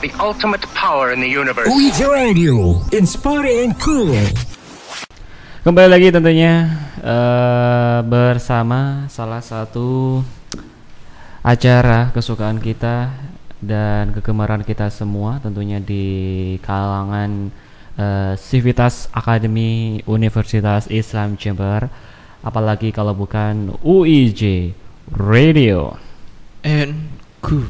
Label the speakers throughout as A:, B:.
A: the ultimate power in the universe.
B: With Radio, inspiring and cool.
C: Kembali lagi tentunya eh, bersama salah satu acara kesukaan kita dan kegemaran kita semua tentunya di kalangan eh, Civitas Akademi Universitas Islam Jember apalagi kalau bukan UIJ Radio
D: And good.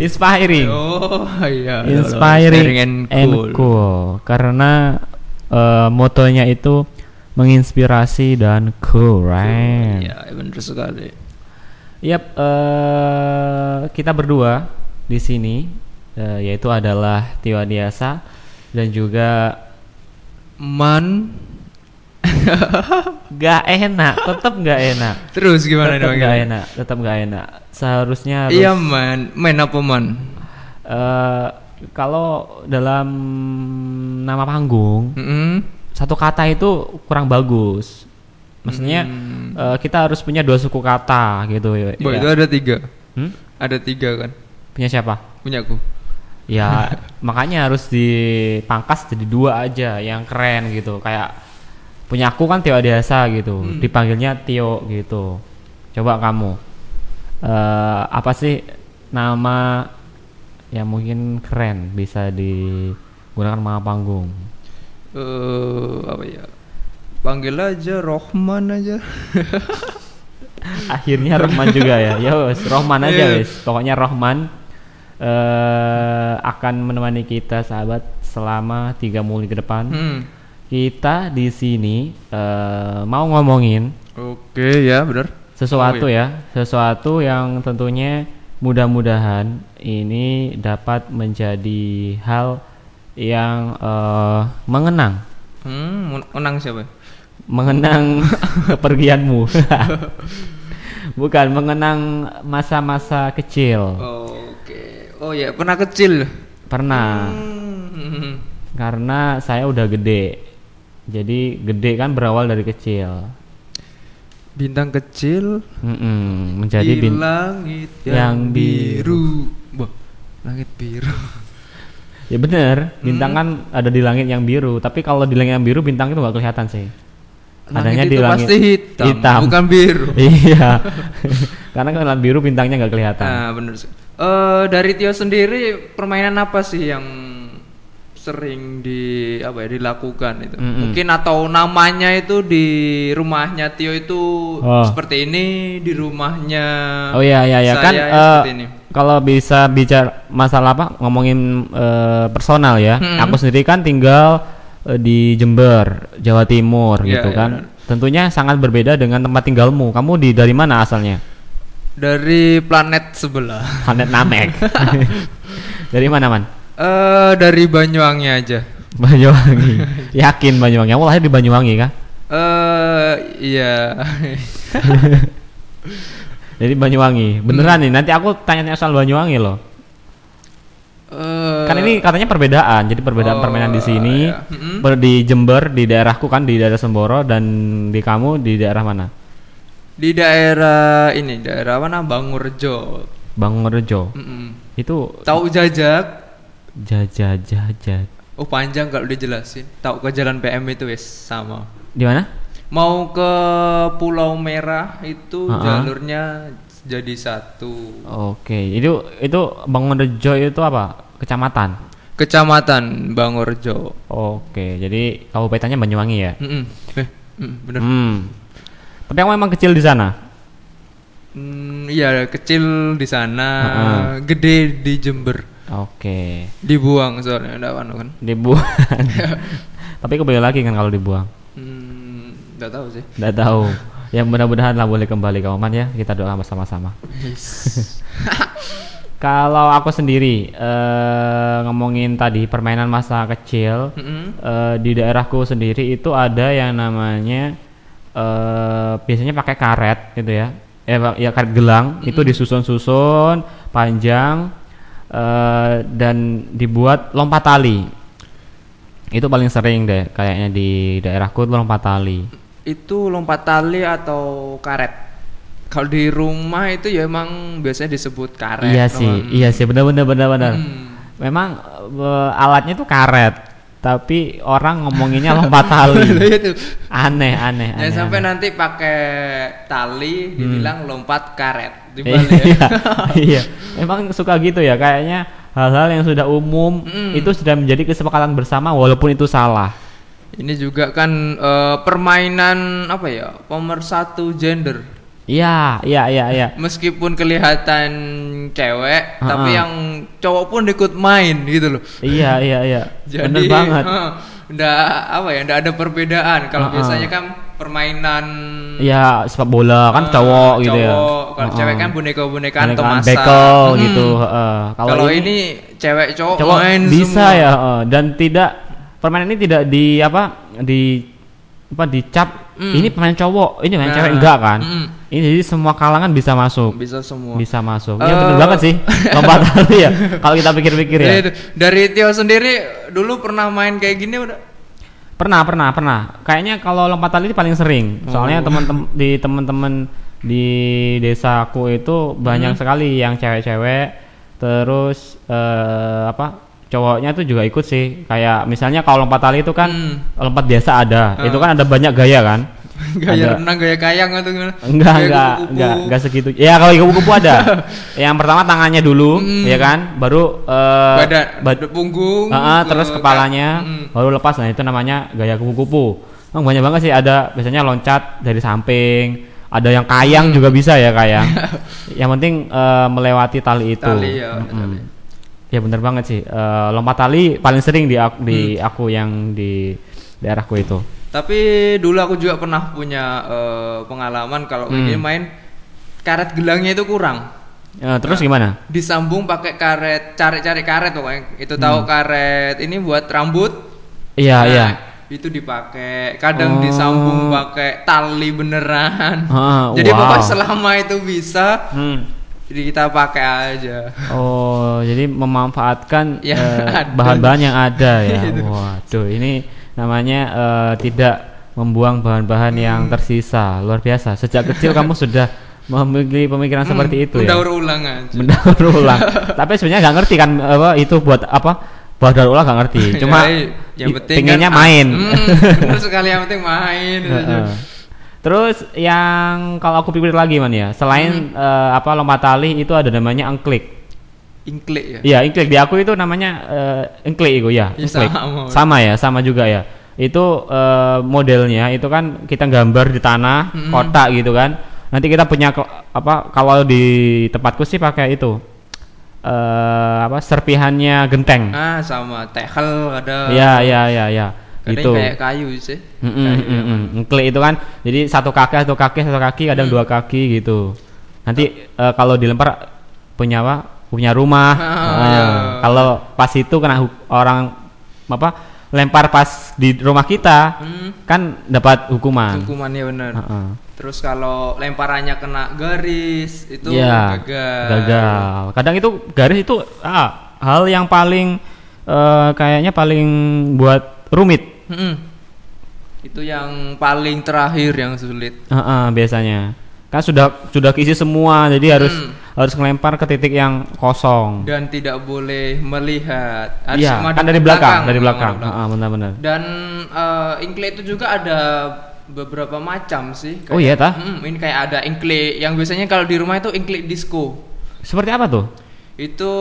C: Inspiring
D: Oh iya.
C: inspiring
D: Sharing
C: and cool. karena eh, motonya itu menginspirasi dan cool right
D: Iya, bener sekali.
C: yep eh, kita berdua di sini eh, yaitu adalah Tiwa Diasa dan juga
D: Man.
C: gak enak tetap gak enak
D: Terus gimana
C: tetap
D: dong?
C: gak
D: gimana?
C: enak tetap gak enak seharusnya harus
D: Iya man, main apa man?
C: eh, kalau dalam nama panggung
D: Mm-mm.
C: satu kata itu kurang bagus. Maksudnya eh, kita harus punya dua suku kata gitu ya.
D: Boy, Hmm. itu ada tiga,
C: Hmm?
D: ada tiga kan?
C: Punya siapa?
D: Punya aku.
C: Ya makanya harus dipangkas jadi dua aja yang keren gitu. Kayak punya aku kan Tio Adiasa gitu.
D: Hmm.
C: Dipanggilnya Tio gitu. Coba kamu eh, apa sih nama yang mungkin keren bisa digunakan nama panggung?
D: Eh apa ya? Panggil aja Rohman aja.
C: akhirnya Rohman juga ya ya wes Rohman aja
D: Iya.
C: wes pokoknya Rohman eh akan menemani kita sahabat selama tiga muli ke depan
D: Hmm.
C: kita di sini eh mau ngomongin
D: Oke ya, bener.
C: sesuatu
D: Oh, iya.
C: ya sesuatu yang tentunya mudah-mudahan ini dapat menjadi hal yang eh, mengenang
D: Hmm, men- menang siapa?
C: mengenang kepergianmu bukan mengenang masa-masa kecil
D: Oke. Oh ya, pernah kecil.
C: pernah
D: Hmm.
C: karena saya udah gede jadi gede kan berawal dari kecil
D: Bintang kecil
C: Mm-mm, menjadi
D: di
C: bin
D: langit yang,
C: yang
D: biru. Wah, langit biru.
C: ya bener bintang kan ada di langit yang biru tapi kalau di langit yang biru bintang itu nggak kelihatan sih adanya
D: langit
C: di
D: itu
C: langit
D: pasti hitam,
C: hitam.
D: bukan biru.
C: iya karena kalau biru bintangnya nggak kelihatan
D: Nah, bener sih. Eh, dari Tio sendiri permainan apa sih yang sering di apa ya dilakukan itu?
C: Mm-mm.
D: Mungkin atau namanya itu di rumahnya Tio itu
C: Oh.
D: seperti ini, di rumahnya
C: Oh iya iya iya
D: saya
C: kan
D: ya
C: eh,
D: seperti ini.
C: kalau bisa bicara masalah apa ngomongin eh, personal ya.
D: Hmm.
C: Aku sendiri kan tinggal eh, di Jember, Jawa Timur
D: Iya,
C: gitu
D: iya,
C: kan. Tentunya sangat berbeda dengan tempat tinggalmu. Kamu di dari mana asalnya?
D: Dari planet sebelah.
C: Planet Namek. dari mana, Man?
D: Eh dari Banyuwangi aja.
C: Banyuwangi. Yakin Banyuwangi. Kamu lahir di Banyuwangi kan?
D: Eh iya.
C: Jadi Banyuwangi.
D: Hmm.
C: Beneran nih, nanti aku tanya soal Banyuwangi loh.
D: Eh,
C: kan ini katanya perbedaan jadi perbedaan
D: Oh,
C: permainan di sini
D: iya. Mm-mm.
C: per- di Jember di daerahku kan di daerah Semboro dan di kamu di daerah mana
D: di daerah ini daerah mana Bangurjo.
C: Bangunrejo
D: Mm-mm.
C: itu
D: Tahu jajak?
C: jaja jaja
D: Oh panjang kalau dijelasin. Tahu ke jalan PM itu wes sama.
C: di mana
D: Mau ke Pulau Merah itu
C: Ha-ha.
D: jalurnya jadi satu
C: oke itu itu Bangunrejo itu apa kecamatan
D: kecamatan Bangurjo.
C: oke jadi kabupatennya Banyuwangi ya
D: Mm-mm. Eh, mm, bener.
C: hmm tapi kamu emang kecil di sana
D: Mm, Iya kecil di sana,
C: Ha-ha.
D: gede di Jember.
C: oke
D: Dibuang soalnya enggak anu kan.
C: dibuang tapi kembali lagi kan kalau dibuang
D: Hmm, enggak tahu sih.
C: Nggak tahu. Yang mudah-mudahan lah boleh kembali ke Oman ya. Kita doa bersama-sama. Kalau aku sendiri eh, ngomongin tadi permainan masa kecil
D: Mm-mm.
C: eh, di daerahku sendiri itu ada yang namanya eh, biasanya pakai karet gitu ya. Eh, pa- ya karet gelang itu disusun-susun panjang eh, dan dibuat lompat tali. Itu paling sering deh kayaknya di daerahku tuh lompat tali.
D: Itu lompat tali atau karet? Kalau di rumah itu ya emang biasanya disebut karet.
C: iya
D: teman.
C: sih iya sih benar benar benar benar
D: Hmm.
C: memang eh, alatnya tuh karet tapi orang ngomonginnya lompat tali iya,
D: Iya itu.
C: aneh aneh aneh,
D: Jangan sampai
C: aneh.
D: nanti pakai tali dibilang lompat karet ya. dibalik.
C: Hmm. iya, iya. Emang suka gitu ya kayaknya hal-hal yang sudah umum
D: Mm.
C: itu sudah menjadi kesepakatan bersama walaupun itu salah.
D: Ini juga kan eh, permainan apa ya? Pemersatu gender.
C: Iya, iya, iya, iya.
D: Meskipun kelihatan cewek,
C: Ha-ha.
D: tapi yang cowok pun ikut main gitu loh.
C: Iya, iya, iya. Bener
D: Jadi
C: banget.
D: eh, ndak apa ya? Ndak ada perbedaan. Kalau
C: Ha-ha.
D: biasanya kan permainan
C: Iya, sepak bola kan
D: eh,
C: cowok gitu ya.
D: cowok. Kalau
C: Heeh.
D: cewek kan boneka-bonekaan atau
C: Boneka
D: masak.
C: bekel
D: Hmm.
C: gitu. heeh.
D: Kalau ini, cewek cowok,
C: cowok
D: main
C: bisa
D: semua.
C: ya heeh. dan tidak permainan ini tidak di apa di apa dicap
D: Mm.
C: ini pemain cowok ini pemain
D: Nah,
C: cewek enggak kan
D: mm.
C: ini jadi semua kalangan bisa masuk
D: Bisa semua.
C: bisa masuk. Iya
D: Eh,
C: bener banget sih. Lompat tali ya. Kalau kita pikir-pikir ya.
D: Dari, dari Tio sendiri dulu pernah main kayak gini udah.
C: Pernah, pernah, pernah. Kayaknya kalau lompat tali itu paling sering. Soalnya
D: Oh.
C: teman-teman di teman-teman di desaku itu
D: Hmm.
C: banyak sekali yang cewek-cewek terus eh, apa? cowoknya tuh juga ikut sih. Kayak misalnya kalau lompat tali itu kan
D: Hmm. Ah.
C: lompat biasa ada. Itu kan ada banyak gaya kan?
D: Gaya
C: Ada-
D: renang, gaya kayang atau gimana?
C: Enggak,
D: Gaya
C: enggak,
D: kupu-kupu.
C: enggak, enggak segitu. Ya kalau yang kupu-kupu ada. yang pertama tangannya dulu, ya kan? Baru eh,
D: Hmm. Badan,
C: bad-
D: punggung. gitu.
C: Heeh, Ah, terus
D: ke-
C: kepalanya
D: Mm.
C: baru lepas. Nah, itu namanya gaya kupu-kupu. Emang banyak banget sih ada biasanya loncat dari samping, ada yang kayang juga bisa ya kayang. yang penting eh, melewati tali itu.
D: Tali, ya,
C: Mm-mm.
D: tali.
C: Ya, bener banget sih. Eh, lompat tali paling sering di aku, di
D: Hmm.
C: aku yang di daerahku itu.
D: Tapi dulu aku juga pernah punya eh, pengalaman kalau
C: Hmm.
D: kayak gini main karet gelangnya itu kurang.
C: Eh,
D: Nah.
C: terus gimana?
D: Disambung pakai karet, cari-cari karet pokoknya. Itu
C: Hmm.
D: tahu karet ini buat rambut.
C: Iya,
D: Nah,
C: iya.
D: Itu dipakai,
C: Oh.
D: kadang disambung pakai tali beneran.
C: Ah,
D: Jadi
C: wow.
D: pokoknya selama itu bisa,
C: Hmm.
D: jadi kita pakai aja.
C: Oh, jadi memanfaatkan
D: Ya,
C: eh,
D: ada.
C: bahan-bahan yang ada ya.
D: Gitu.
C: Waduh, ini namanya eh, tidak membuang bahan-bahan yang
D: Hmm.
C: tersisa. Luar biasa. Sejak kecil kamu sudah memiliki pemikiran seperti itu ya.
D: Hmm. Mendaur ulang aja.
C: Mendaur ulang. Tapi sebenarnya nggak ngerti kan apa itu buat apa? Buat daur ulang nggak ngerti. Cuma
D: Jadi, Iya, yang
C: i-
D: penting
C: pinginnya
D: kan-
C: main.
D: Hmm, bener sekali yang penting main. gitu aja.
C: Heeh. Terus yang kalau aku pikir lagi man ya,
D: Hmm.
C: selain eh, apa lompat tali itu ada namanya angklik.
D: Ingklik ya.
C: Iya, ingklik di aku itu namanya eh, engklik itu ya.
D: Iya,
C: engklik.
D: sama.
C: Sama ya, sama juga ya. Itu eh, modelnya itu kan kita gambar di tanah, kotak gitu kan. Nanti kita punya ke- apa kalau di tempatku sih pakai itu. eh apa serpihannya genteng.
D: Ah, sama tehel ada.
C: Hmm. Iya, iya, iya, iya.
D: Kadang
C: Gitu.
D: Ah, kayak kayu sih.
C: Mm, mm,
D: gitu.
C: mm, mm. Engklik itu kan jadi satu kaki satu kaki satu kaki kadang
D: Mm.
C: dua kaki gitu. Nanti eh, kalau dilempar punya apa? Punya rumah.
D: Ah,
C: Nah,
D: iya.
C: Kalau pas itu kena hu- orang apa? Lempar pas di rumah kita
D: Hmm,
C: kan dapat hukuman.
D: hukumannya bener.
C: Heeh.
D: Terus kalau lemparannya kena garis itu
C: Iya,
D: gagal.
C: gagal. Kadang itu garis itu ah, hal yang paling eh, kayaknya paling buat rumit.
D: Mm-mm. Hmm. Itu yang paling terakhir yang sulit.
C: Heeh, biasanya kan sudah sudah keisi semua jadi harus
D: Hmm.
C: harus ngelempar ke titik yang kosong
D: dan tidak boleh melihat. Harus
C: iya
D: maju
C: kan
D: ke
C: dari belakang, dari
D: maju
C: belakang Ah,
D: ke
C: Heeh, benar-benar
D: Dan eh, inkle itu juga ada beberapa macam sih.
C: Oh iya, tah?
D: Mm, ini kayak ada inkle yang biasanya kalau di rumah itu inkle disco.
C: seperti apa tuh
D: Itu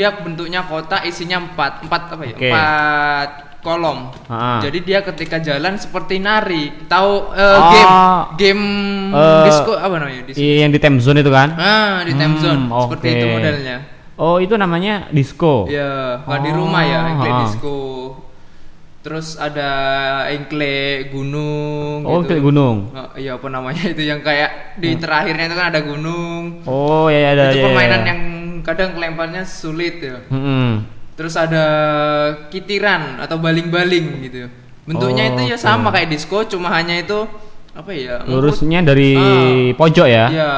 D: dia bentuknya kotak isinya empat empat apa ya?
C: Oke.
D: Empat kolom.
C: Ah.
D: Jadi dia ketika jalan seperti nari. Tahu eh,
C: Oh.
D: game game
C: Eh,
D: disco apa namanya? Disco.
C: Iya, yang di time zone itu kan
D: Ah, di
C: Hmm,
D: time zone. Seperti itu
C: oke.
D: modelnya.
C: oh itu namanya disco
D: Iya, kalau di
C: Oh,
D: rumah ya, engkle
C: ah.
D: disco. Terus ada engkle gunung
C: Oh, engkle gunung.
D: Eh, iya, apa namanya itu yang kayak di terakhirnya itu kan ada gunung.
C: oh ya ya ada
D: itu
C: ya, ya, ya.
D: permainan
C: Hmm,
D: yang kadang kelemparnya sulit ya.
C: Mm-mm.
D: Terus ada kitiran atau baling-baling gitu. Bentuknya
C: Oh,
D: itu ya
C: oke.
D: sama kayak disco, cuma hanya itu apa ya?
C: lurusnya dari
D: Ah.
C: pojok ya
D: Iya.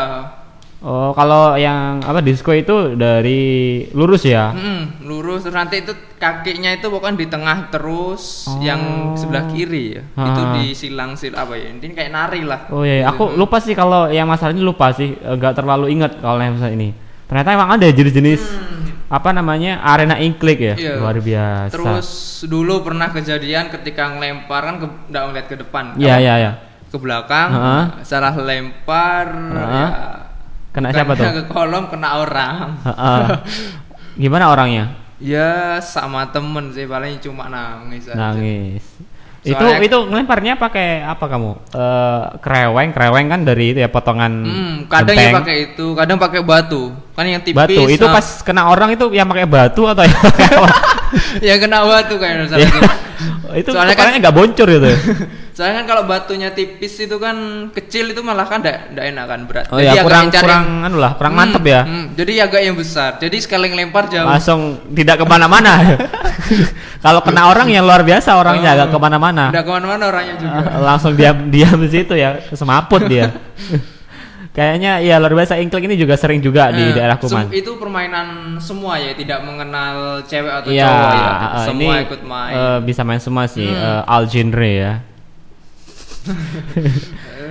C: Oh, kalau yang apa disco itu dari lurus
D: Hmm.
C: ya?
D: Mm-mm, lurus terus nanti itu kakinya itu bukan di tengah terus
C: Oh.
D: yang sebelah kiri ya.
C: Ah.
D: Itu disilang sil apa ya? Intinya kayak nari lah.
C: Oh iya, iya. aku lupa sih kalau yang masalahnya lupa sih, enggak terlalu ingat kalau yang masalah ini. Ternyata emang ada jenis-jenis apa namanya arena ingklik ya,
D: Hmm. Iya.
C: luar biasa.
D: Terus dulu pernah kejadian ketika ngelempar kan ke- nggak ngeliat ke depan.
C: Iya
D: Kalau
C: iya iya.
D: Ke belakang nah,
C: Heeh.
D: salah lempar
C: Heeh.
D: ya,
C: Kena siapa tuh?
D: Ke kolom kena orang.
C: Heeh. Gimana orangnya?
D: ya sama temen sih paling cuma nangis aja.
C: Nangis.
D: Soalnya-
C: itu itu ngelemparnya pakai apa kamu? Eh kereweng, kereweng kan dari itu ya potongan
D: Hmm, kadang ya
C: genteng.
D: pakai itu, kadang pakai batu. Kan yang tipis.
C: batu. Itu
D: nah,
C: pas kena orang itu yang pakai batu atau yang pakai apa?
D: ya kena batu
C: Ya.
D: kayaknya salah gitu.
C: itu
D: Soalnya
C: soalnya
D: kan-
C: nggak boncor gitu.
D: Soalnya kan kalau batunya tipis itu kan kecil itu malah kan enggak enak kan berat.
C: Oh ya
D: agak
C: kurang
D: yang cari-
C: kurang anu lah, kurang
D: Hmm,
C: mantep ya.
D: hmm, Ya, jadi agak yang besar. Jadi sekali ngelempar jauh.
C: Langsung tidak kemana-mana. Kalau kena orang yang luar biasa orangnya agak kemana-mana.
D: Oh.
C: Ah,
D: Udah kemana-mana orangnya juga.
C: langsung diam diam di situ ya semaput dia kayaknya ya luar biasa ingklik ini juga sering juga Ah, di
D: Nah,
C: daerah
D: sem-
C: Kuman
D: Itu permainan semua ya, tidak mengenal cewek atau
C: Iya,
D: cowok ya.
C: eh,
D: Semua
C: ini,
D: ikut main. Hmm.
C: eh, bisa main semua sih, eh, all genre ya.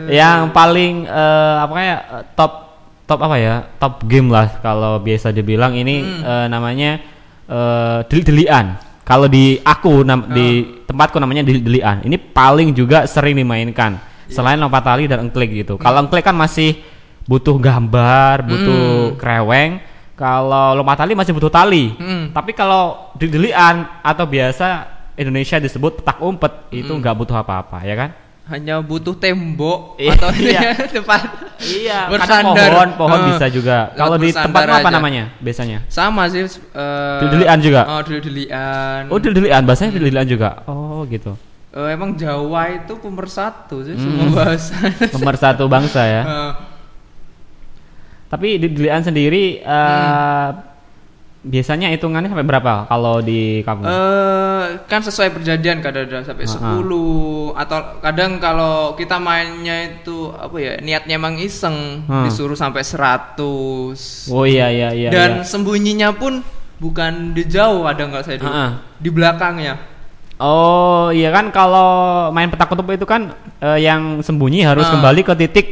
C: yang paling eh, apa ya eh, top top apa ya top game lah kalau biasa dibilang ini eh, namanya eh deli-delian. Kalau di aku nam- di tempatku namanya deli-delian. Ini paling juga sering dimainkan selain lompat tali dan engklik gitu. Kalau engklik kan masih butuh gambar, butuh kreweng. Kalau lompat tali masih butuh tali.
D: Hmm.
C: Tapi kalau didelian atau biasa Indonesia disebut petak umpet itu nggak butuh apa-apa ya kan?
D: Hanya butuh tembok
C: Iya.
D: atau iya. tempat.
C: Kadang
D: bersandar.
C: Iya, pohon pohon
D: Eh,
C: bisa juga. Kalau di
D: bersandar
C: tempatmu apa
D: aja.
C: namanya biasanya?
D: Sama sih. eh,
C: Deli-delian juga?
D: Oh, deli-delian.
C: Oh didelian bahasanya didelian juga. Oh gitu.
D: Eh, emang Jawa itu pemersatu sih semua bahasa.
C: Nomor satu bangsa Hmm. ya.
D: Eh,
C: Tapi didelian sendiri eh, biasanya hitungannya sampai berapa kalau di kamu?
D: eh, kan sesuai perjanjian kadang ada sampai
C: Ah, ah.
D: 10 atau kadang kalau kita mainnya itu apa ya niatnya emang iseng
C: Hmm.
D: disuruh sampai 100
C: oh iya iya iya.
D: dan
C: iya.
D: sembunyinya pun bukan di jauh ada nggak saya dulu
C: Ah, ah.
D: di belakangnya
C: Oh iya kan kalau main petak umpet itu kan eh, yang sembunyi harus
D: Ah.
C: kembali ke titik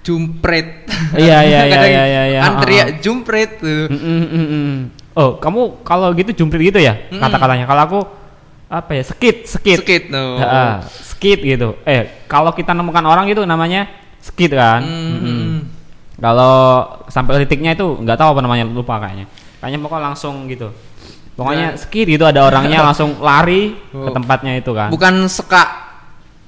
D: jumpret
C: Iya, iya, iya,
D: Kadang
C: iya, iya, iya.
D: kan teriak
C: Ah,
D: jumpret tuh.
C: Mm, mm, mm, mm. Oh, kamu kalau gitu jumprit gitu ya
D: Mm-mm.
C: kata-katanya. Kalau aku apa ya? Skit, skit. Ah,
D: Skit, no.
C: Ha-ha, skit gitu. Eh, kalau kita nemukan orang itu namanya skit kan.
D: Hmm.
C: Mm-mm. Kalau sampai titiknya itu nggak tahu apa namanya, lupa kayaknya. Kayaknya pokoknya langsung gitu. Pokoknya skit gitu ada orangnya langsung lari ke
D: Iya. Oh.
C: tempatnya itu kan.
D: bukan seka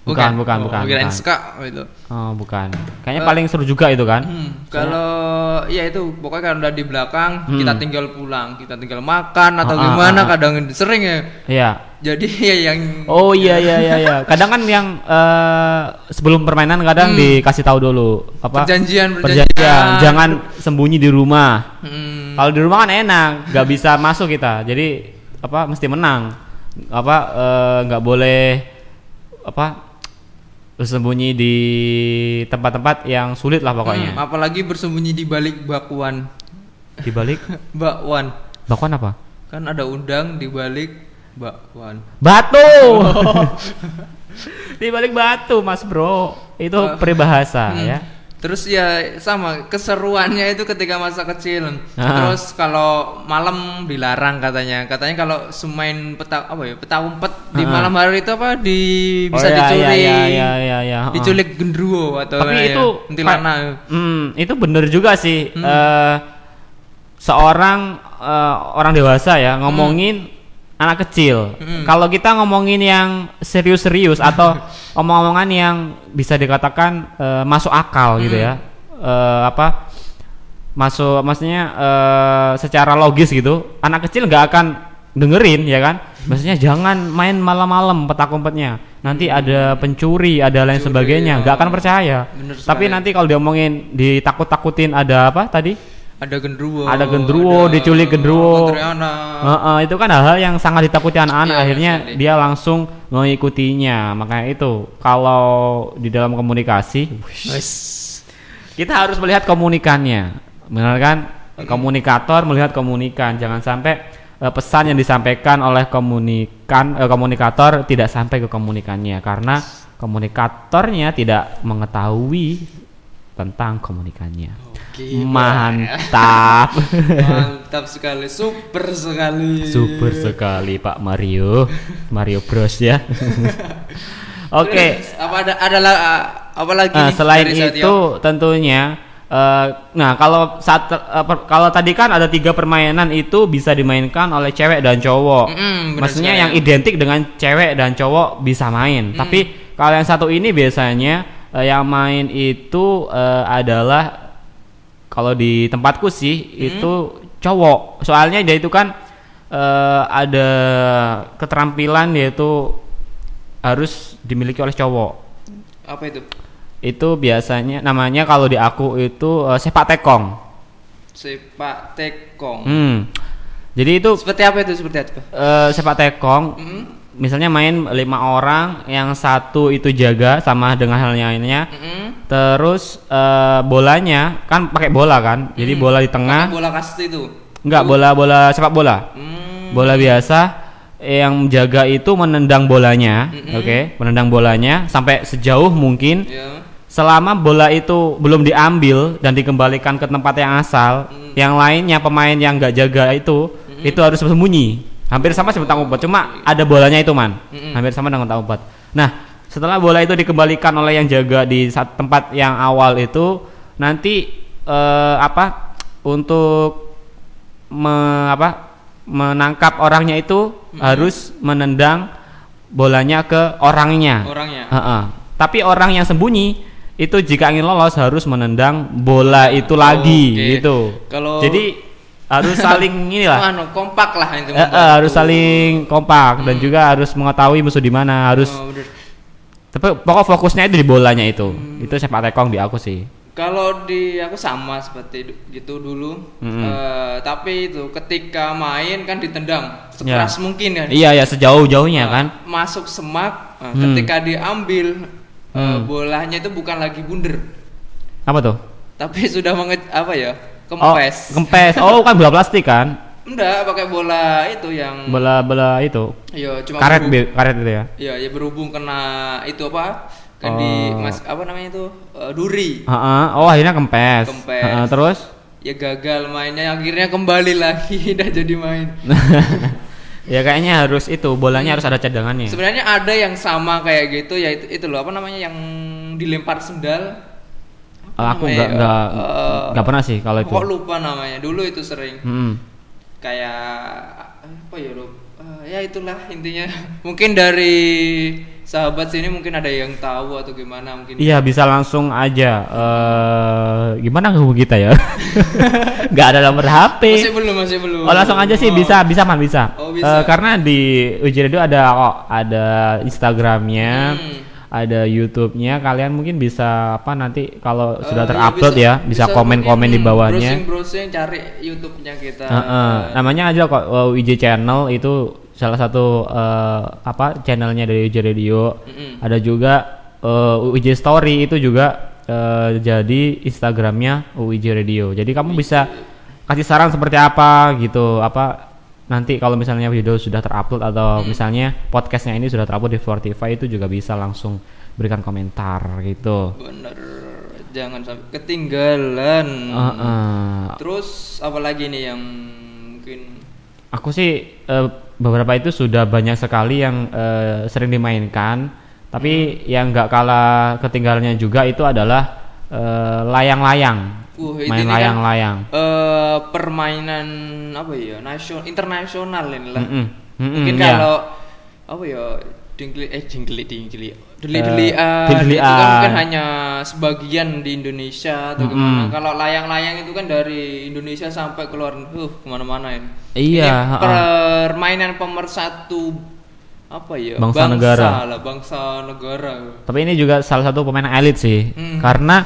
C: Bukan, bukan,
D: Oh,
C: bukan,
D: kirain
C: bukan.
D: seka itu
C: Oh, bukan. Kayaknya
D: Eh.
C: paling seru juga itu kan.
D: Hmm, kalau ya itu pokoknya kalau udah di belakang
C: Hmm.
D: kita tinggal pulang, kita tinggal makan atau
C: Ah, ah,
D: gimana
C: ah, ah.
D: kadang sering ya.
C: Iya.
D: Jadi ya yang
C: Oh iya iya iya iya. Kadang kan yang eh, sebelum permainan kadang dikasih tahu dulu apa
D: Hmm. Perjanjian, Ah.
C: perjanjian.
D: perjanjian.
C: Jangan sembunyi di rumah.
D: Hmm,
C: Kalau di rumah kan enak, nggak bisa masuk kita. Jadi apa mesti menang. Apa eh, nggak boleh apa bersembunyi di tempat-tempat yang sulit lah pokoknya.
D: hmm, apalagi bersembunyi di balik bakwan.
C: Di balik
D: Bakwan.
C: bakwan apa?
D: Kan ada undang di balik bakwan.
C: Batu.
D: Oh.
C: di balik batu, Mas Bro. Itu
D: Eh,
C: peribahasa
D: Hmm.
C: ya.
D: Terus ya sama keseruannya itu ketika masa kecil.
C: Ah.
D: Terus kalau malam dilarang katanya. Katanya kalau semain peta apa ya peta umpet di
C: Ah.
D: malam hari itu apa di
C: Oh,
D: bisa
C: iya, iya,
D: dicuri.
C: iya, iya, iya, iya, ah.
D: Diculik gendruwo atau
C: tapi
D: apa ya,
C: itu
D: kuntilana.
C: Hmm, itu bener juga sih Eh, seorang eh, orang dewasa ya ngomongin anak kecil
D: Hmm.
C: kalau kita ngomongin yang serius-serius atau omong-omongan yang bisa dikatakan eh, masuk akal gitu ya Eh, apa masuk maksudnya eh, secara logis gitu anak kecil nggak akan dengerin ya kan maksudnya jangan main malam-malam petak umpetnya nanti ada pencuri ada lain
D: Pencuri,
C: sebagainya nggak akan
D: oh.
C: percaya
D: Bener
C: tapi
D: sekali.
C: nanti kalau diomongin ditakut-takutin ada apa tadi
D: Ada gendruwo.
C: Ada gendruwo, diculik gendruwo.
D: kuntilanak.
C: Heeh, itu kan hal-hal yang sangat ditakuti anak-anak
D: Iya,
C: akhirnya
D: sekali.
C: dia langsung mengikutinya makanya itu kalau di dalam komunikasi
D: Wes.
C: kita harus melihat komunikannya Benar kan? Komunikator melihat komunikan. Jangan sampai eh, pesan yang disampaikan oleh komunikan eh, komunikator tidak sampai ke komunikannya karena komunikatornya tidak mengetahui tentang komunikannya.
D: Oke.
C: Mantap.
D: Mantap sekali, super sekali.
C: Super sekali Pak Mario. Mario Bros ya. Oke.
D: Terus, Apa ada ada la- apa lagi
C: Nah,
D: nih
C: selain
D: dari Satyo?
C: itu tentunya eh, nah kalau saat eh, per- kalau tadi kan ada tiga permainan itu bisa dimainkan oleh cewek dan cowok.
D: Mm-mm, ya. benar
C: Maksudnya
D: sekali.
C: yang identik dengan cewek dan cowok bisa main.
D: Mm.
C: Tapi kalau yang satu ini biasanya eh, yang main itu eh, adalah kalau di tempatku sih
D: Mm.
C: itu cowok. Soalnya dia itu kan eh, ada keterampilan yaitu harus dimiliki oleh cowok
D: apa itu?
C: itu biasanya namanya kalau di aku itu eh, sepak tekong.
D: Sepak tekong.
C: Hmm. Jadi itu
D: Seperti apa itu? Seperti apa?
C: eh, sepak tekong.
D: Hmm.
C: Misalnya main lima orang, yang satu itu jaga sama dengan halnya lainnya.
D: Mm-mm.
C: Terus eh, bolanya kan pakai bola kan. Jadi bola di tengah.
D: Hmm. Pakai bola kasti itu.
C: Enggak, bola-bola sepak bola.
D: Hmm.
C: Bola biasa yang jaga itu menendang bolanya,
D: Hmm.
C: oke, menendang bolanya sampai sejauh mungkin
D: Ya.
C: Selama bola itu belum diambil dan dikembalikan ke tempat yang asal, yang lainnya pemain yang nggak jaga itu, itu harus bersembunyi. Hampir sama seperti tangkap umpet, cuma ada bolanya itu man. Hampir sama dengan tangkap umpet. Nah, setelah bola itu dikembalikan oleh yang jaga di saat tempat yang awal itu, nanti eh, apa untuk me- apa menangkap orangnya itu harus menendang bolanya ke orangnya. Ah,
D: Orangnya.
C: Heeh. Tapi orang yang sembunyi itu jika ingin lolos harus menendang bola itu lagi
D: Oh, oke.
C: gitu.
D: Kalau-
C: Jadi harus saling inilah.
D: Anu, kompak lah itu.
C: Eh,
D: Oh,
C: eh, Iya harus saling kompak dan juga harus mengetahui musuh di mana, harus
D: Hmm. Oh, bener.
C: tapi pokok fokusnya itu di bolanya itu.
D: Hmm.
C: Itu sepak tekong di aku sih.
D: Kalau di aku sama seperti du- gitu dulu,
C: Mm-mm.
D: Eh, tapi itu ketika main kan ditendang sekeras
C: Ya.
D: mungkin kan. Eh,
C: Iya ya sejauh-jauhnya
D: Ah.
C: kan.
D: Masuk semak, nah,
C: Hmm.
D: ketika diambil eh,
C: Hmm.
D: bolanya itu bukan lagi bundar,
C: Apa tuh?
D: tapi sudah menget apa
C: Oh,
D: ya kempes.
C: kempes. Oh, kan bola plastik kan?
D: Enggak pakai bola itu yang,
C: Bola-bola itu.
D: ya cuma
C: Karet
D: berhubung-
C: bi- karet itu ya.
D: Ya, ya berhubung kena itu apa? Kan di
C: Oh.
D: mas apa namanya itu Eh, duri.
C: Heeh. Oh, akhirnya kempes.
D: Kempes.
C: Heeh, terus
D: Ya gagal mainnya akhirnya kembali lagi udah jadi main.
C: ya kayaknya harus itu bolanya harus ada cadangannya.
D: Sebenarnya ada yang sama kayak gitu ya itu, itu loh apa namanya yang dilempar sendal.
C: Eh, aku
D: namanya,
C: nggak
D: eh,
C: nggak
D: eh,
C: nggak pernah sih kalau itu. Hmm.
D: Kok lupa namanya? Dulu itu sering
C: Mm-mm.
D: kayak apa ya Rob? Eh, ya itulah intinya. Mungkin dari sahabat sini mungkin ada yang tahu atau gimana mungkin.
C: Iya bisa langsung aja. eh gimana hubungi kita ya? Nggak ada nomor
D: Masih
C: HP.
D: belum, masih belum.
C: Oh langsung aja sih
D: Oh.
C: bisa bisa man bisa.
D: Oh, bisa.
C: Eh, karena di Uji Radio ada kok ada Instagramnya.
D: Hmm.
C: Ada YouTube-nya, kalian mungkin bisa apa nanti kalau sudah
D: Eh, iya,
C: terupload ya, bisa komen-komen di
D: mungkin, hmm,
C: bawahnya.
D: Browsing-browsing cari YouTube-nya kita.
C: Heeh, namanya aja kok uh, UJ Channel itu salah satu eh, apa channelnya dari UJ Radio.
D: Mm-mm.
C: Ada juga eh, UJ Story itu juga eh, jadi Instagramnya UJ Radio. Jadi kamu bisa kasih saran seperti apa gitu apa nanti kalau misalnya video sudah terupload atau misalnya podcastnya ini sudah terupload di Spotify itu juga bisa langsung berikan komentar gitu.
D: Bener. Jangan sampai ketinggalan.
C: Heeh.
D: Terus apa lagi nih yang mungkin
C: Aku sih eh, beberapa itu sudah banyak sekali yang eh, sering dimainkan,
D: Hmm.
C: tapi yang nggak kalah ketinggalannya juga itu adalah eh, layang-layang,
D: Wuh, itu
C: main
D: nih kan.
C: layang-layang.
D: eh permainan apa ya? Nasional internasional ini lah.
C: Mm-mm, mm-mm,
D: Mungkin
C: iya.
D: kalau apa ya? Dingli eh dingli dingli deli-delian
C: Eh,
D: itu kan mungkin
C: deli-delian.
D: hanya sebagian di Indonesia atau gimana. Kalau layang-layang itu kan dari Indonesia sampai keluar huh uh, kemana-mana ini.
C: Iya,
D: Ini
C: ha-ha.
D: permainan pemersatu apa ya?
C: Bangsa negara.
D: lah, bangsa negara.
C: Tapi ini juga salah satu pemain elit sih,
D: Mm.
C: karena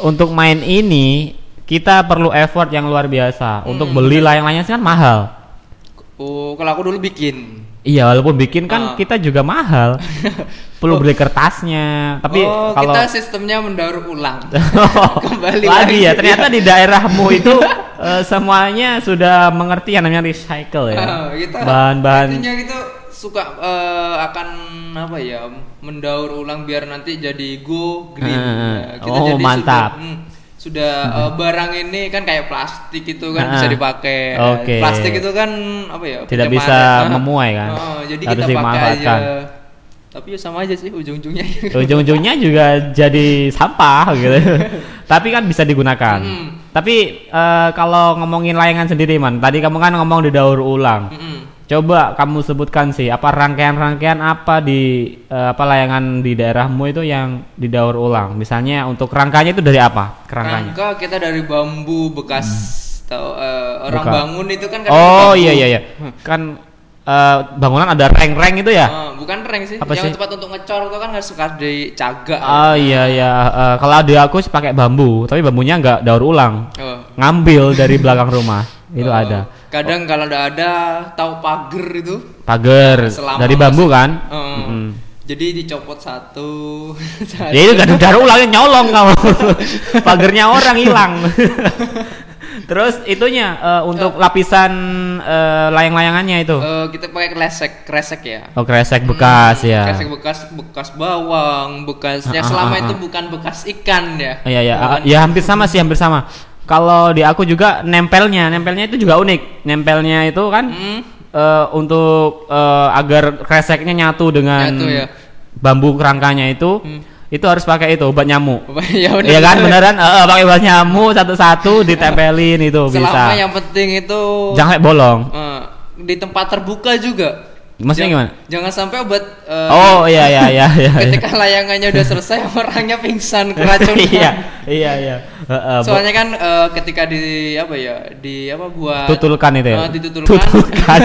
C: untuk main
D: Hmm.
C: ini kita perlu effort yang luar biasa. Untuk beli layang-layang sih kan mahal.
D: Oh, kalau aku dulu bikin.
C: Iya, walaupun bikin
D: Ah.
C: kan kita juga mahal. Perlu beli kertasnya. Tapi
D: oh,
C: kalau
D: kita sistemnya mendaur ulang. Kembali
C: lagi, ya, ternyata di daerahmu itu eh, semuanya sudah mengerti yang namanya recycle ya.
D: Ah, kita
C: Bahan-bahan
D: intinya gitu suka eh, akan apa ya mendaur ulang biar nanti jadi go green.
C: Ah,
D: Nah, kita
C: oh,
D: jadi sudah-
C: mantap. Hmm.
D: hmm, Sudah, eh, barang ini kan kayak plastik itu
C: Ah,
D: kan bisa dipakai.
C: oke.
D: Plastik itu kan apa ya?
C: Tidak
D: pencemaran.
C: bisa
D: Ah,
C: memuai kan?
D: ah, jadi
C: Harus
D: kita pakai aja.
C: dimanfaatkan.
D: Tapi ya sama aja sih ujung-ujungnya. gitu.
C: ujung-ujungnya juga jadi sampah gitu. Tapi kan bisa digunakan.
D: Mm.
C: Tapi eh, kalau ngomongin layangan sendiri man, tadi kamu kan ngomong didaur ulang.
D: Mm-mm.
C: Coba kamu sebutkan sih apa rangkaian-rangkaian apa di eh, apa layangan di daerahmu itu yang didaur ulang. Misalnya untuk rangkanya itu dari apa? Kerangkanya.
D: Rangka kita dari bambu bekas tahu eh, orang
C: Buka.
D: bangun itu kan kadang
C: Hmm. Oh
D: bambu.
C: iya iya iya. Kan eh, bangunan ada reng-reng itu ya?
D: Eh, bukan reng sih.
C: Apa
D: yang
C: sih?
D: tempat untuk ngecor itu kan harus suka dicaga.
C: Oh iya iya. Eh, kalau ada aku sih pakai bambu, tapi bambunya nggak daur ulang.
D: Oh.
C: Ngambil dari belakang rumah. Itu
D: Oh,
C: ada.
D: Kadang kalau nggak ada tahu pagar itu
C: Pagar
D: selama
C: dari bambu
D: masih-
C: kan?
D: Eh,
C: Mm-mm.
D: Jadi dicopot satu.
C: Ya itu gak daur ulang nyolong kamu. Pagernya orang hilang. Terus itunya eh, untuk lapisan eh, layang-layangannya itu.
D: Eh, kita pakai kresek, kresek ya.
C: Oh kresek bekas
D: Hmm,
C: ya.
D: Kresek bekas, bekas bawang, bekasnya
C: Ah, ah,
D: selama
C: ah,
D: itu
C: ah.
D: bukan bekas ikan ya.
C: Iya ya,
D: Bukan-
C: ya hampir sama sih, hampir sama. Kalau di aku juga nempelnya, nempelnya itu juga unik. Nempelnya itu kan
D: Hmm,
C: eh, untuk eh, agar kreseknya nyatu dengan
D: Nyatu, ya. Hmm.
C: bambu kerangkanya itu, itu harus pakai itu obat nyamuk.
D: ya benar.
C: Iya kan beneran Eh, eh, pakai obat nyamuk satu-satu ditempelin itu
D: Selama
C: bisa.
D: yang penting itu
C: Jangan sampai bolong.
D: eh, di tempat terbuka juga.
C: Maksudnya
D: Jang-
C: gimana?
D: Jangan sampai obat eh,
C: Oh iya iya iya iya. iya.
D: ketika layangannya udah selesai orangnya pingsan keracunan.
C: Iya iya iya. Eh, eh, bo-
D: Soalnya kan eh, ketika di apa ya di apa buat
C: tutulkan itu ya.
D: Eh, ditutulkan.
C: Tutulkan.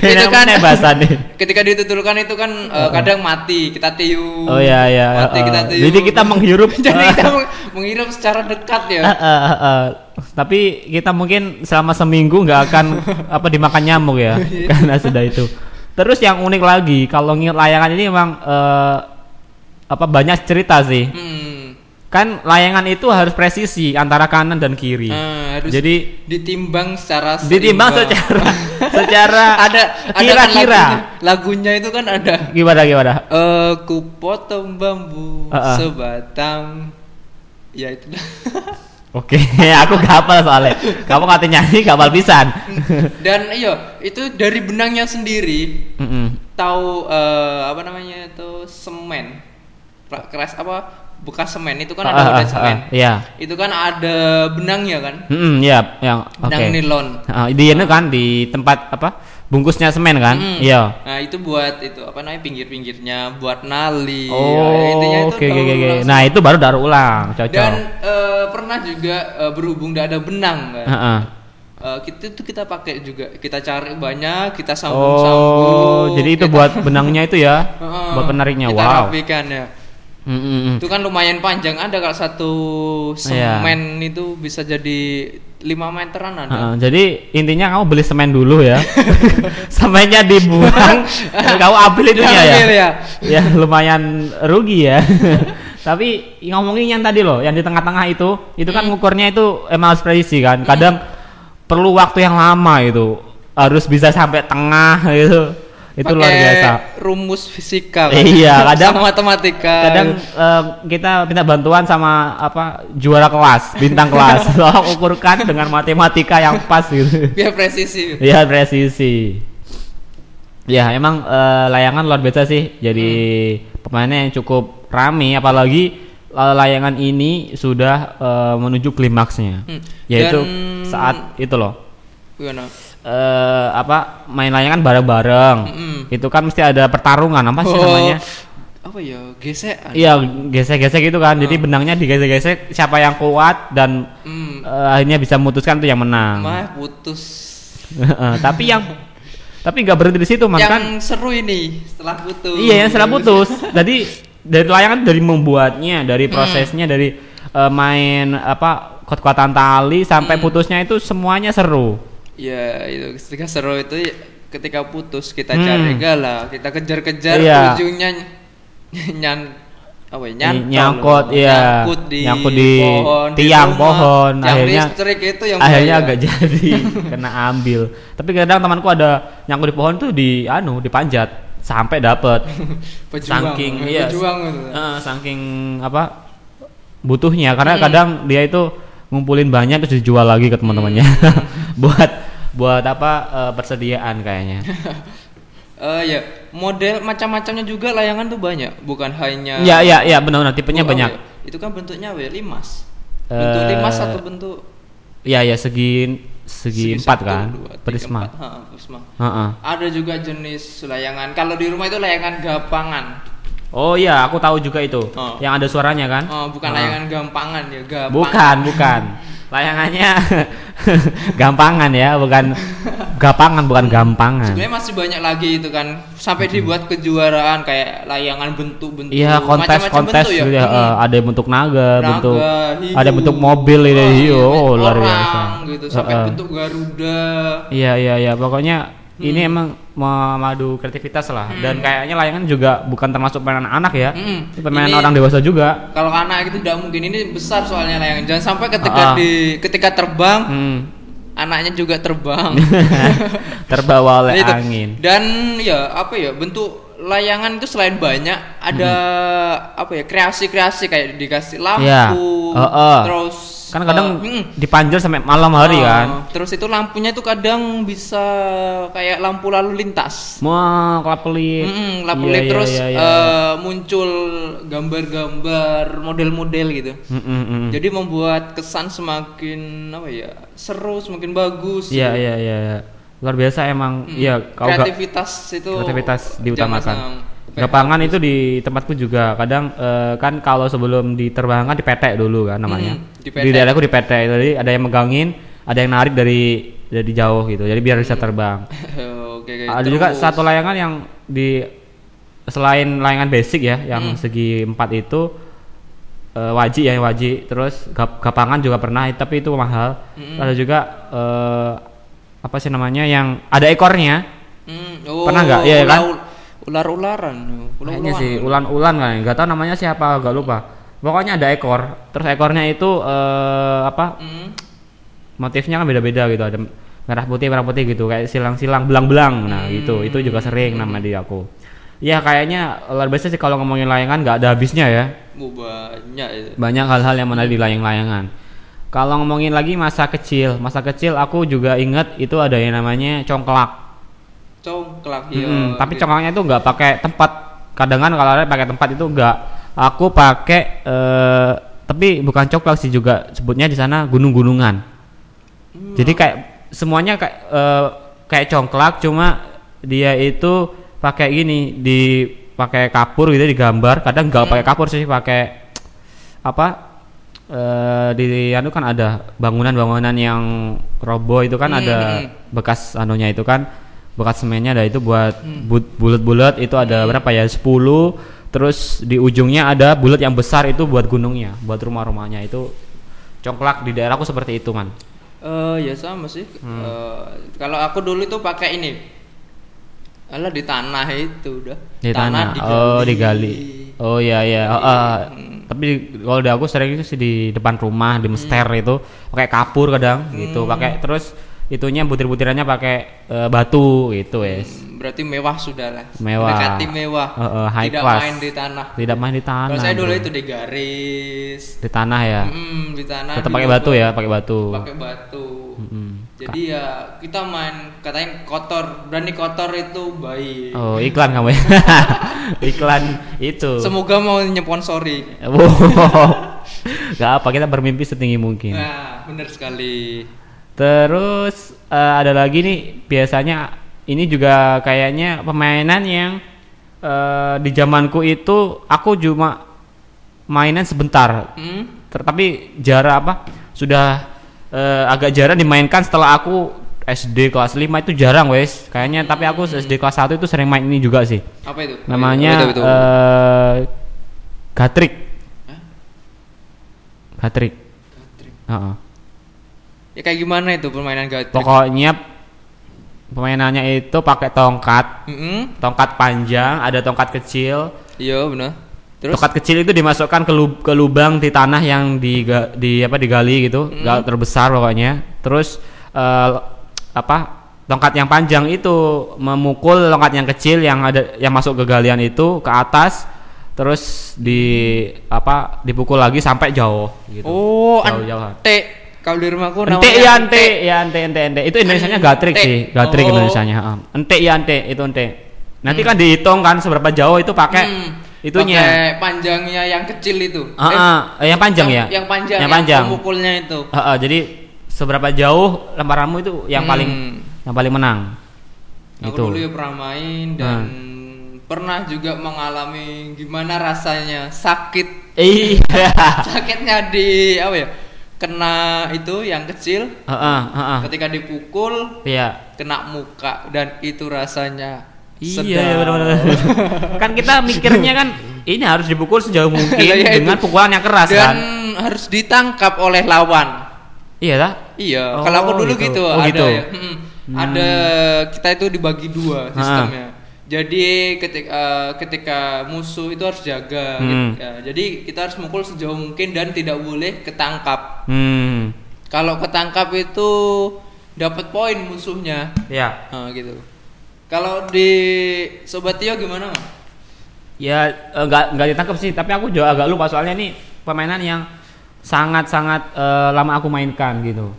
D: itu kan
C: Kenapa bahasa nih?
D: Ketika ditutulkan itu kan eh, kadang mati, kita tiup.
C: Oh iya iya. eh,
D: Mati kita
C: eh.
D: tiup.
C: Jadi kita menghirup.
D: Jadi
C: eh,
D: kita meng- menghirup secara dekat ya.
C: eh, eh, eh, eh. Tapi kita mungkin selama seminggu nggak akan apa dimakan nyamuk ya
D: Iya.
C: karena sudah itu. Terus yang unik lagi kalau nginget layangan ini emang eh, apa banyak cerita sih.
D: Hmm.
C: Kan layangan itu harus presisi antara kanan dan kiri.
D: Eh, harus
C: Iya. Jadi
D: ditimbang secara
C: ditimbang
D: seimbang.
C: secara secara
D: ada ada kan
C: kira-kira
D: lagunya, lagunya itu kan ada
C: gimana gimana
D: eh ku potong bambu
C: Ah, ah.
D: sebatang ya itu dah.
C: oke aku gapal soalnya kamu katanya nyanyi gapal pisan
D: Hmm. dan iya itu dari benangnya sendiri
C: Mm-mm.
D: tahu eh, apa namanya itu semen Pra- keras apa bekas semen itu kan ada
C: Ah, ah,
D: wadah
C: ah,
D: semen
C: ah, iya
D: itu kan ada benangnya kan
C: Mm-mm, iya yang oke
D: benang nilon
C: Ah, di ini kan di tempat apa bungkusnya semen kan
D: Mm.
C: iya
D: nah itu buat itu apa namanya pinggir-pinggirnya buat nali Ya, intinya
C: oh
D: itu
C: oke oke
D: daur
C: oke
D: ulang
C: nah itu baru daur ulang cocok
D: dan eh, pernah juga eh, berhubung tidak ada benang kan
C: Heeh.
D: Eh, kita itu kita pakai juga kita cari banyak kita sambung sambung
C: oh jadi itu buat benangnya itu ya buat penariknya
D: kita
C: wow Hmm.
D: rapikan ya
C: Mm-mm.
D: itu kan lumayan panjang ada kalau satu
C: Iya.
D: semen itu bisa jadi 5 meteran ada
C: Heeh, jadi intinya kamu beli semen dulu ya. Semennya dibuang, kamu ambil itunya ya.
D: Ambil ya.
C: Ya lumayan rugi ya. Tapi ngomongin yang tadi loh, yang di tengah-tengah itu, itu kan ngukurnya itu emang harus presisi kan. Kadang perlu waktu yang lama itu. Harus bisa sampai tengah gitu. Itu luar
D: Pakai
C: biasa.
D: rumus fisika kan.
C: Iya, kadang-
D: sama matematika
C: Kadang eh, kita minta bantuan sama apa juara kelas, bintang kelas. Tolong ukurkan dengan matematika yang pas gitu.
D: biar presisi
C: Iya presisi. Ya emang eh, layangan luar biasa sih. Jadi
D: Hmm.
C: pemainnya yang cukup rame, apalagi eh, layangan ini sudah eh, menuju klimaksnya,
D: Hmm.
C: yaitu
D: Dan-
C: saat itu loh.
D: Gimana?
C: eh apa main layangan bareng-bareng.
D: Mm-mm.
C: Itu kan mesti ada pertarungan apa sih
D: Hmm. Oh,
C: namanya?
D: apa ya gesekan
C: Iya gesek-gesek gitu kan. Jadi benangnya digesek-gesek siapa yang kuat dan
D: Hmm,
C: eh, akhirnya bisa memutuskan tuh yang menang. Eh,
D: mah putus
C: tapi yang tapi nggak berhenti di situ, mas
D: yang
C: kan
D: seru ini setelah putus
C: Iya, yang setelah putus. Jadi dari layangan dari membuatnya, dari
D: Hmm.
C: prosesnya, dari
D: Hmm.
C: eh, main apa kuat-kuatan tali sampai putusnya itu semuanya seru.
D: ya itu ketika seru itu ya, ketika putus kita cari
C: Hmm.
D: galau kita kejar-kejar
C: Iya.
D: ujungnya ny- nyan apa ya, nyantol
C: Ny- nyangkut,
D: loh.
C: iya.
D: nyangkut di,
C: Nyangkut di
D: pohon di
C: tiang
D: rumah.
C: pohon.
D: Tiang
C: Akhirnya-
D: listrik itu yang gitu.
C: akhirnya
D: bahaya.
C: agak jadi kena ambil tapi kadang temanku ada nyangkut di pohon tuh di anu dipanjat sampai dapet
D: Pejuang,
C: saking
D: eh,
C: iya
D: pejuang gitu.
C: eh, saking apa butuhnya karena
D: Iya.
C: kadang dia itu ngumpulin banyak terus dijual lagi ke teman-temannya
D: Hmm.
C: buat buat apa eh, persediaan kayaknya
D: Eh, ya model macam-macamnya juga layangan tuh banyak bukan hanya
C: iya iya iya benar-benar tipenya
D: Oh,
C: banyak
D: apa ya? itu kan bentuknya apa ya? limas bentuk
C: Eh,
D: limas satu bentuk
C: iya iya segi segi, empat
D: satu,
C: kan
D: dua, tiga,
C: prisma
D: empat. Ha, prisma
C: Heeh.
D: ada juga jenis layangan kalau di rumah itu layangan gapangan
C: Oh iya, aku tahu juga itu.
D: Oh.
C: Yang ada suaranya kan?
D: oh,
C: Ah.
D: bukan layangan gampangan ya gampang
C: Bukan, bukan. Layangannya gampangan ya, bukan gapangan, bukan gampangan.
D: sebenarnya masih banyak lagi itu kan sampai dibuat kejuaraan kayak layangan bentuk-bentuk
C: Hmm. Iya, kontes
D: macam-macam
C: kontes
D: bentuk
C: gitu ya.
D: Hmm.
C: Eh, ada yang bentuk naga,
D: Naga,
C: bentuk
D: hiu.
C: ada bentuk mobil ini
D: Wah,
C: hiu.
D: iya,
C: Oh, luar
D: orang,
C: biasa.
D: gitu sampai
C: Eh, eh.
D: bentuk Hmm. garuda
C: Iya, iya, iya. Pokoknya ini emang memadu kreativitas lah dan kayaknya layangan juga bukan termasuk mainan anak ya.
D: Hmm.
C: Ini Permainan
D: Ini-
C: orang dewasa juga.
D: kalau anak itu tidak mungkin ini besar soalnya layangan jangan sampai ketika
C: Ah, ah.
D: di ketika terbang
C: Hmm.
D: anaknya juga terbang
C: Terbawa oleh
D: Nah, itu.
C: angin.
D: dan ya apa ya bentuk layangan itu selain banyak ada apa ya kreasi-kreasi kayak dikasih lampu
C: Hmm. Iya. Heeh.
D: terus
C: kan kadang
D: eh, mm,
C: dipanjer sampai malam hari
D: eh,
C: kan
D: terus itu lampunya itu kadang bisa kayak lampu lalu lintas
C: mau kelap pelit
D: Mm, lampu
C: Iya,
D: led
C: iya,
D: terus
C: iya, iya.
D: eh, muncul gambar-gambar model-model gitu
C: Mm, mm, mm.
D: jadi membuat kesan semakin apa ya seru semakin bagus
C: iya iya iya iya. luar biasa emang
D: Mm,
C: iya kalau nggak-
D: kreativitas itu
C: kreativitas diutamakan
D: jangan sang-
C: gapangan itu di tempatku juga kadang eh, kan kalau sebelum diterbangkan dipetek dulu kan namanya
D: Hmm, dipetek.
C: di daerahku dipetek jadi ada yang megangin ada yang narik dari dari jauh gitu jadi biar bisa terbang
D: Hmm. Oke, oke.
C: ada juga
D: Terus,
C: satu layangan yang di selain layangan basic ya
D: Hmm.
C: yang segi empat itu eh, wajib ya wajib terus gap- gapangan juga pernah tapi itu mahal
D: Hmm.
C: Terus ada juga eh, apa sih namanya yang ada ekornya
D: hmm, oh,
C: Pernah nggak? Iya, kan?
D: ular- Ular-ularan.
C: kayaknya
D: ular-ularan.
C: sih ulan-ulan kan nggak tahu namanya siapa gak lupa pokoknya ada ekor terus ekornya itu eh, apa
D: Hmm,
C: motifnya kan beda-beda gitu ada merah putih merah putih gitu kayak silang-silang belang-belang nah gitu itu juga sering nama di aku ya kayaknya luar biasa sih kalau ngomongin layangan nggak ada habisnya ya
D: oh, banyak itu.
C: banyak hal-hal yang menarik di layang-layangan kalau ngomongin lagi masa kecil masa kecil aku juga inget itu ada yang namanya congklak
D: Congklak ya.
C: Mm-mm, Hmm, tapi
D: gitu.
C: congklaknya itu nggak pakai tempat kadang kan kalau ada pakai tempat itu nggak aku pakai eh, tapi bukan congklak sih juga sebutnya di sana gunung-gunungan jadi kayak semuanya kayak eh, kayak congklak cuma dia itu pakai gini di pakai kapur gitu digambar kadang nggak pakai kapur sih pakai apa eh di anu kan ada bangunan-bangunan yang roboh itu kan
D: Hmm,
C: ada
D: hmm.
C: bekas anunya itu kan bekas semennya ada itu buat bu- bulat-bulat itu ada berapa ya 10 terus di ujungnya ada bulat yang besar itu buat gunungnya buat rumah-rumahnya itu congklak di daerahku seperti itu man
D: Eh, ya sama sih.
C: Hmm.
D: Eh, kalau aku dulu tuh pakai ini. Alah di tanah itu udah.
C: di tanah, oh digali oh iya iya Oh, eh, tapi di- kalau di aku sering itu sih di depan rumah di mester
D: Hmm.
C: itu pakai kapur kadang gitu pakai terus itunya butir-butirannya pakai eh, batu gitu es
D: Hmm, Berarti mewah sudah lah.
C: Mewah.
D: Mendekati mewah.
C: Eh, eh, high
D: Tidak
C: class.
D: main di tanah.
C: tidak main di tanah
D: Kalau saya dulu
C: bro.
D: itu di garis.
C: di tanah ya
D: Hmm, di tanah.
C: tetap
D: di
C: pakai
D: lubang.
C: batu ya pakai batu
D: pakai batu.
C: Mm.
D: Jadi ya kita main katanya kotor, berani kotor itu baik.
C: oh iklan kamu ya iklan itu
D: Semoga mau nyponsori.
C: Wow. Gak apa kita bermimpi setinggi mungkin
D: Nah, benar sekali.
C: Terus eh, ada lagi nih biasanya ini juga kayaknya permainan yang eh, di zamanku itu aku cuma mainan sebentar.
D: Hmm?
C: Ter- tapi jarak apa sudah eh, agak jarang dimainkan setelah aku SD kelas 5 itu jarang wes. Kayaknya tapi aku SD kelas 1 itu sering main ini juga sih.
D: Apa itu?
C: Namanya
D: Apa itu, apa itu?
C: eh, gatrik.
D: Hah?
C: Gatrik.
D: Gatrik.
C: Heeh.
D: Ya kayak gimana itu permainan gatrik?
C: Pokoknya pemainannya itu pakai tongkat,
D: Mm-mm.
C: tongkat panjang, ada tongkat kecil.
D: Iya benar. Terus
C: Tongkat kecil itu dimasukkan ke, lub- ke lubang di tanah yang di di apa digali gitu, gal terbesar pokoknya. Terus eh, apa? Tongkat yang panjang itu memukul tongkat yang kecil yang ada yang masuk ke galian itu ke atas terus di apa dipukul lagi sampai jauh gitu.
D: oh
C: jauh-jauhan.
D: ante. Kalau di rumahku namanya
C: Ente ya ente ya ente ente ente itu Indonesianya gatrik
D: Ente.
C: sih gatrik
D: Oh.
C: Indonesianya ah. ente ya ente itu ente nanti kan dihitung kan seberapa jauh itu pakai
D: Hmm,
C: itunya
D: pakai panjangnya yang kecil itu.
C: Ah, ah, eh, yang panjang
D: yang,
C: ya
D: Yang panjang.
C: yang panjang
D: pemukulnya itu.
C: Ah, ah, jadi seberapa jauh lemparanmu itu yang
D: Hmm.
C: paling yang paling menang Gitu.
D: Aku
C: itu
D: dulu ya pernah main dan
C: Hmm.
D: pernah juga mengalami gimana rasanya sakit
C: iya
D: sakitnya di apa ya kena itu yang kecil
C: Ah, ah, ah, ah.
D: ketika dipukul
C: iya
D: kena muka dan itu rasanya
C: Iya,
D: sedap.
C: iya benar-benar. kan kita mikirnya kan ini harus dipukul sejauh mungkin
D: Lah, iya itu.
C: dengan pukulan yang keras
D: dan
C: kan.
D: harus ditangkap oleh lawan
C: Iya lah.
D: iya
C: Oh,
D: kalau aku dulu
C: gitu.
D: gitu,
C: Oh,
D: ada
C: gitu. Hmm.
D: ya mm-mm. ada kita itu dibagi dua sistemnya jadi ketika eh, ketika musuh itu harus jaga
C: Hmm.
D: gitu, ya. jadi kita harus mukul sejauh mungkin dan tidak boleh ketangkap
C: Hmm.
D: kalau ketangkap itu dapat poin musuhnya
C: Iya.
D: Nah, gitu. Kalau di Sobat Tio gimana, Mas?
C: Ya eh, nggak nggak ditangkap sih, tapi aku juga agak lupa soalnya ini permainan yang sangat-sangat eh, lama aku mainkan gitu.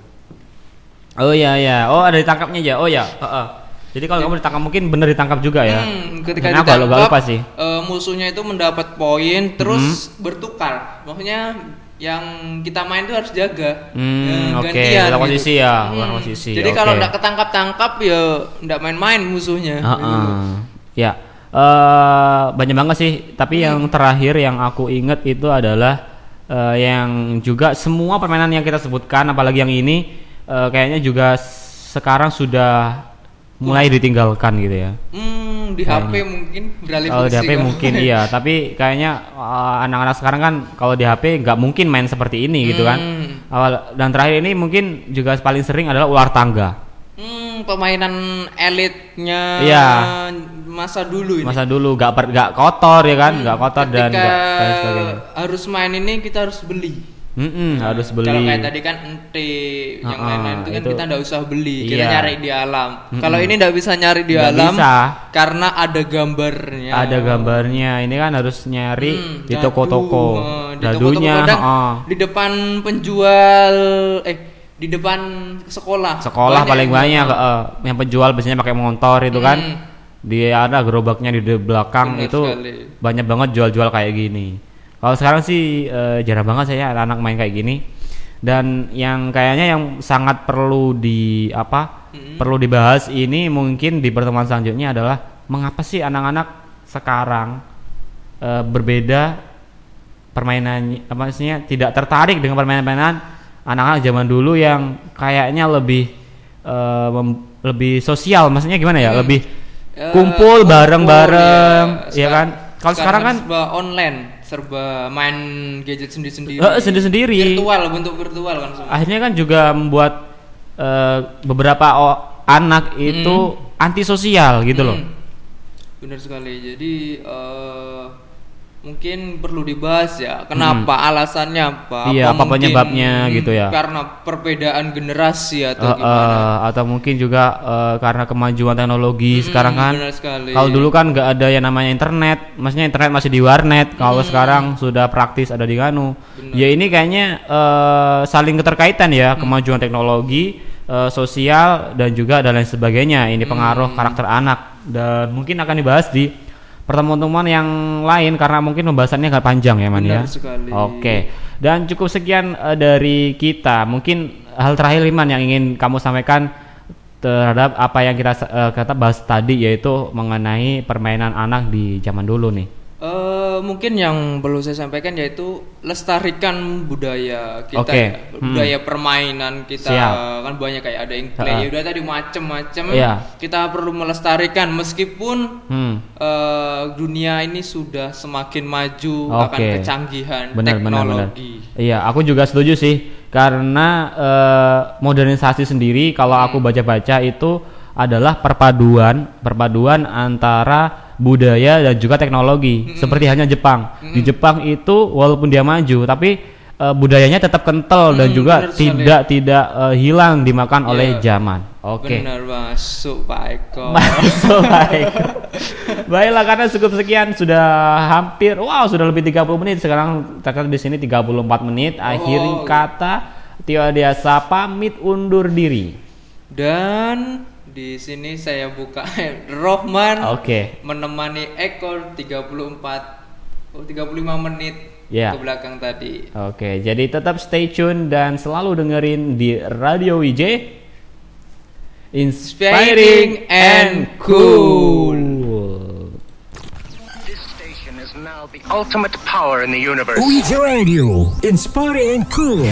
C: Oh iya iya, oh ada ditangkapnya aja. Oh iya, heeh. Jadi kalau kamu ditangkap mungkin bener ditangkap juga ya.
D: Hmm, ketika
C: Karena aku agak- agak
D: ditangkap,
C: lupa sih. Hmm.
D: eh, musuhnya itu mendapat poin terus bertukar. Maksudnya yang kita main itu harus jaga.
C: Hmm,
D: Eh,
C: oke,
D: gantian
C: lawan
D: gitu.
C: posisi ya, lawan posisi,
D: Jadi kalau
C: oke. Ah,
D: nggak ketangkap-tangkap ya nggak main-main musuhnya.
C: Heeh. Ya. eh banyak banget sih, tapi yang terakhir yang aku inget itu adalah eh, yang juga semua permainan yang kita sebutkan apalagi yang ini eh, kayaknya juga s- sekarang sudah mulai ditinggalkan gitu ya.
D: Hmm, di HP mungkin beralih
C: Kalau di
D: fungsi
C: HP
D: kan?
C: mungkin iya, tapi kayaknya eh, anak-anak sekarang kan kalau di HP nggak mungkin main seperti ini gitu kan.
D: Hmm.
C: Awal dan terakhir ini mungkin juga paling sering adalah ular tangga.
D: Hmm, pemainan elitnya
C: Iya.
D: masa dulu ini.
C: Masa dulu nggak per- nggak kotor ya kan, nggak kotor dan
D: Ketika
C: nggak- dan sebagainya.
D: harus main ini kita harus beli.
C: Mm-mm, harus beli.
D: Nah, Kalau kayak tadi kan ente yang
C: Ah,
D: lain-lain itu kan
C: itu-
D: kita nggak usah beli, kita
C: Iya.
D: nyari di alam. Kalau ini nggak bisa nyari di
C: Nggak
D: alam
C: bisa.
D: karena ada gambarnya.
C: Ada gambarnya. Ini kan harus nyari
D: ya. Hmm,
C: di
D: dadu,
C: toko-toko. ah,
D: eh, di
C: Dadunya,
D: toko-toko. Dan
C: heeh.
D: di depan penjual eh di depan sekolah.
C: sekolah paling
D: yang-
C: banyak heeh. yang penjual biasanya pakai motor itu kan.
D: Hmm.
C: Dia ada gerobaknya di de- belakang
D: Benar
C: itu
D: sekali.
C: banyak banget jual-jual kayak gini. Kalau sekarang sih eh, jarang banget saya anak main kayak gini. Dan yang kayaknya yang sangat perlu di apa? Perlu dibahas ini mungkin di pertemuan selanjutnya adalah mengapa sih anak-anak sekarang eh, berbeda permainan apa maksudnya tidak tertarik dengan permainan-permainan anak-anak zaman dulu yang kayaknya lebih eh, mem- lebih sosial maksudnya gimana ya lebih
D: Eh,
C: kumpul
D: iya.
C: bareng-bareng ya,
D: Sekar-
C: kan kalau sekarang kan
D: serba online, serba main gadget sendiri-sendiri.
C: Eh, sendiri-sendiri.
D: Virtual bentuk virtual kan semua.
C: akhirnya kan juga membuat eh, beberapa o- anak itu antisosial gitu loh
D: Hmm. Benar sekali. Jadi eh, mungkin perlu dibahas ya. Kenapa? Alasannya apa?
C: Hmm. Iya, apa
D: mungkin,
C: penyebabnya
D: hmm,
C: gitu ya.
D: Karena perbedaan generasi atau
C: Eh,
D: gimana?
C: eh, atau mungkin juga eh, karena kemajuan teknologi sekarang kan
D: Hmm, benar sekali.
C: kalau dulu kan nggak ada yang namanya internet maksudnya internet masih di warnet
D: Hmm.
C: kalau sekarang sudah praktis ada di Ganu ya ini kayaknya eh, saling keterkaitan ya
D: Hmm.
C: kemajuan teknologi eh, sosial dan juga dan lain sebagainya ini
D: Hmm.
C: pengaruh karakter anak dan mungkin akan dibahas di pertemuan-pertemuan yang lain karena mungkin pembahasannya agak panjang ya man ya
D: Benar sekali.
C: oke dan cukup sekian eh, dari kita mungkin hal terakhir Liman yang ingin kamu sampaikan terhadap apa yang kita eh, kata bahas tadi yaitu mengenai permainan anak di zaman dulu nih.
D: Eh, mungkin yang perlu saya sampaikan yaitu lestarikan budaya kita,
C: Oke. hmm.
D: ya. budaya permainan kita
C: Siap.
D: kan banyak kayak ada yang play, udah tadi macem-macem.
C: Iya.
D: Kita perlu melestarikan meskipun
C: Hmm.
D: eh, dunia ini sudah semakin maju akan
C: Oke.
D: kecanggihan
C: Benar benar benar.
D: teknologi.
C: Iya, aku juga setuju
D: Hmm.
C: sih karena eh, modernisasi sendiri kalau aku baca-baca itu adalah perpaduan perpaduan antara budaya dan juga teknologi
D: Hmm.
C: seperti halnya Jepang di Jepang itu walaupun dia maju tapi eh, budayanya tetap kental dan
D: Mm,
C: juga
D: benar sekali.
C: tidak tidak eh, hilang dimakan oleh
D: Iya.
C: zaman oke
D: Benar masuk Pak Eko.
C: Masuk baik. Baiklah karena cukup sekian sudah hampir wow sudah lebih 30 menit sekarang ternyata di sini 34 menit akhir
D: Oh.
C: kata Tio Adiasa pamit undur diri.
D: Dan di sini saya buka Rohman
C: Oke.
D: menemani Eko 34 oh 35 menit
C: Ya.
D: ke belakang tadi.
C: Oke, jadi tetap stay tune dan selalu dengerin di Radio IJ Inspiring and cool.
A: This station is now the ultimate power in the universe.
B: Ouija Radio. Inspiring and cool.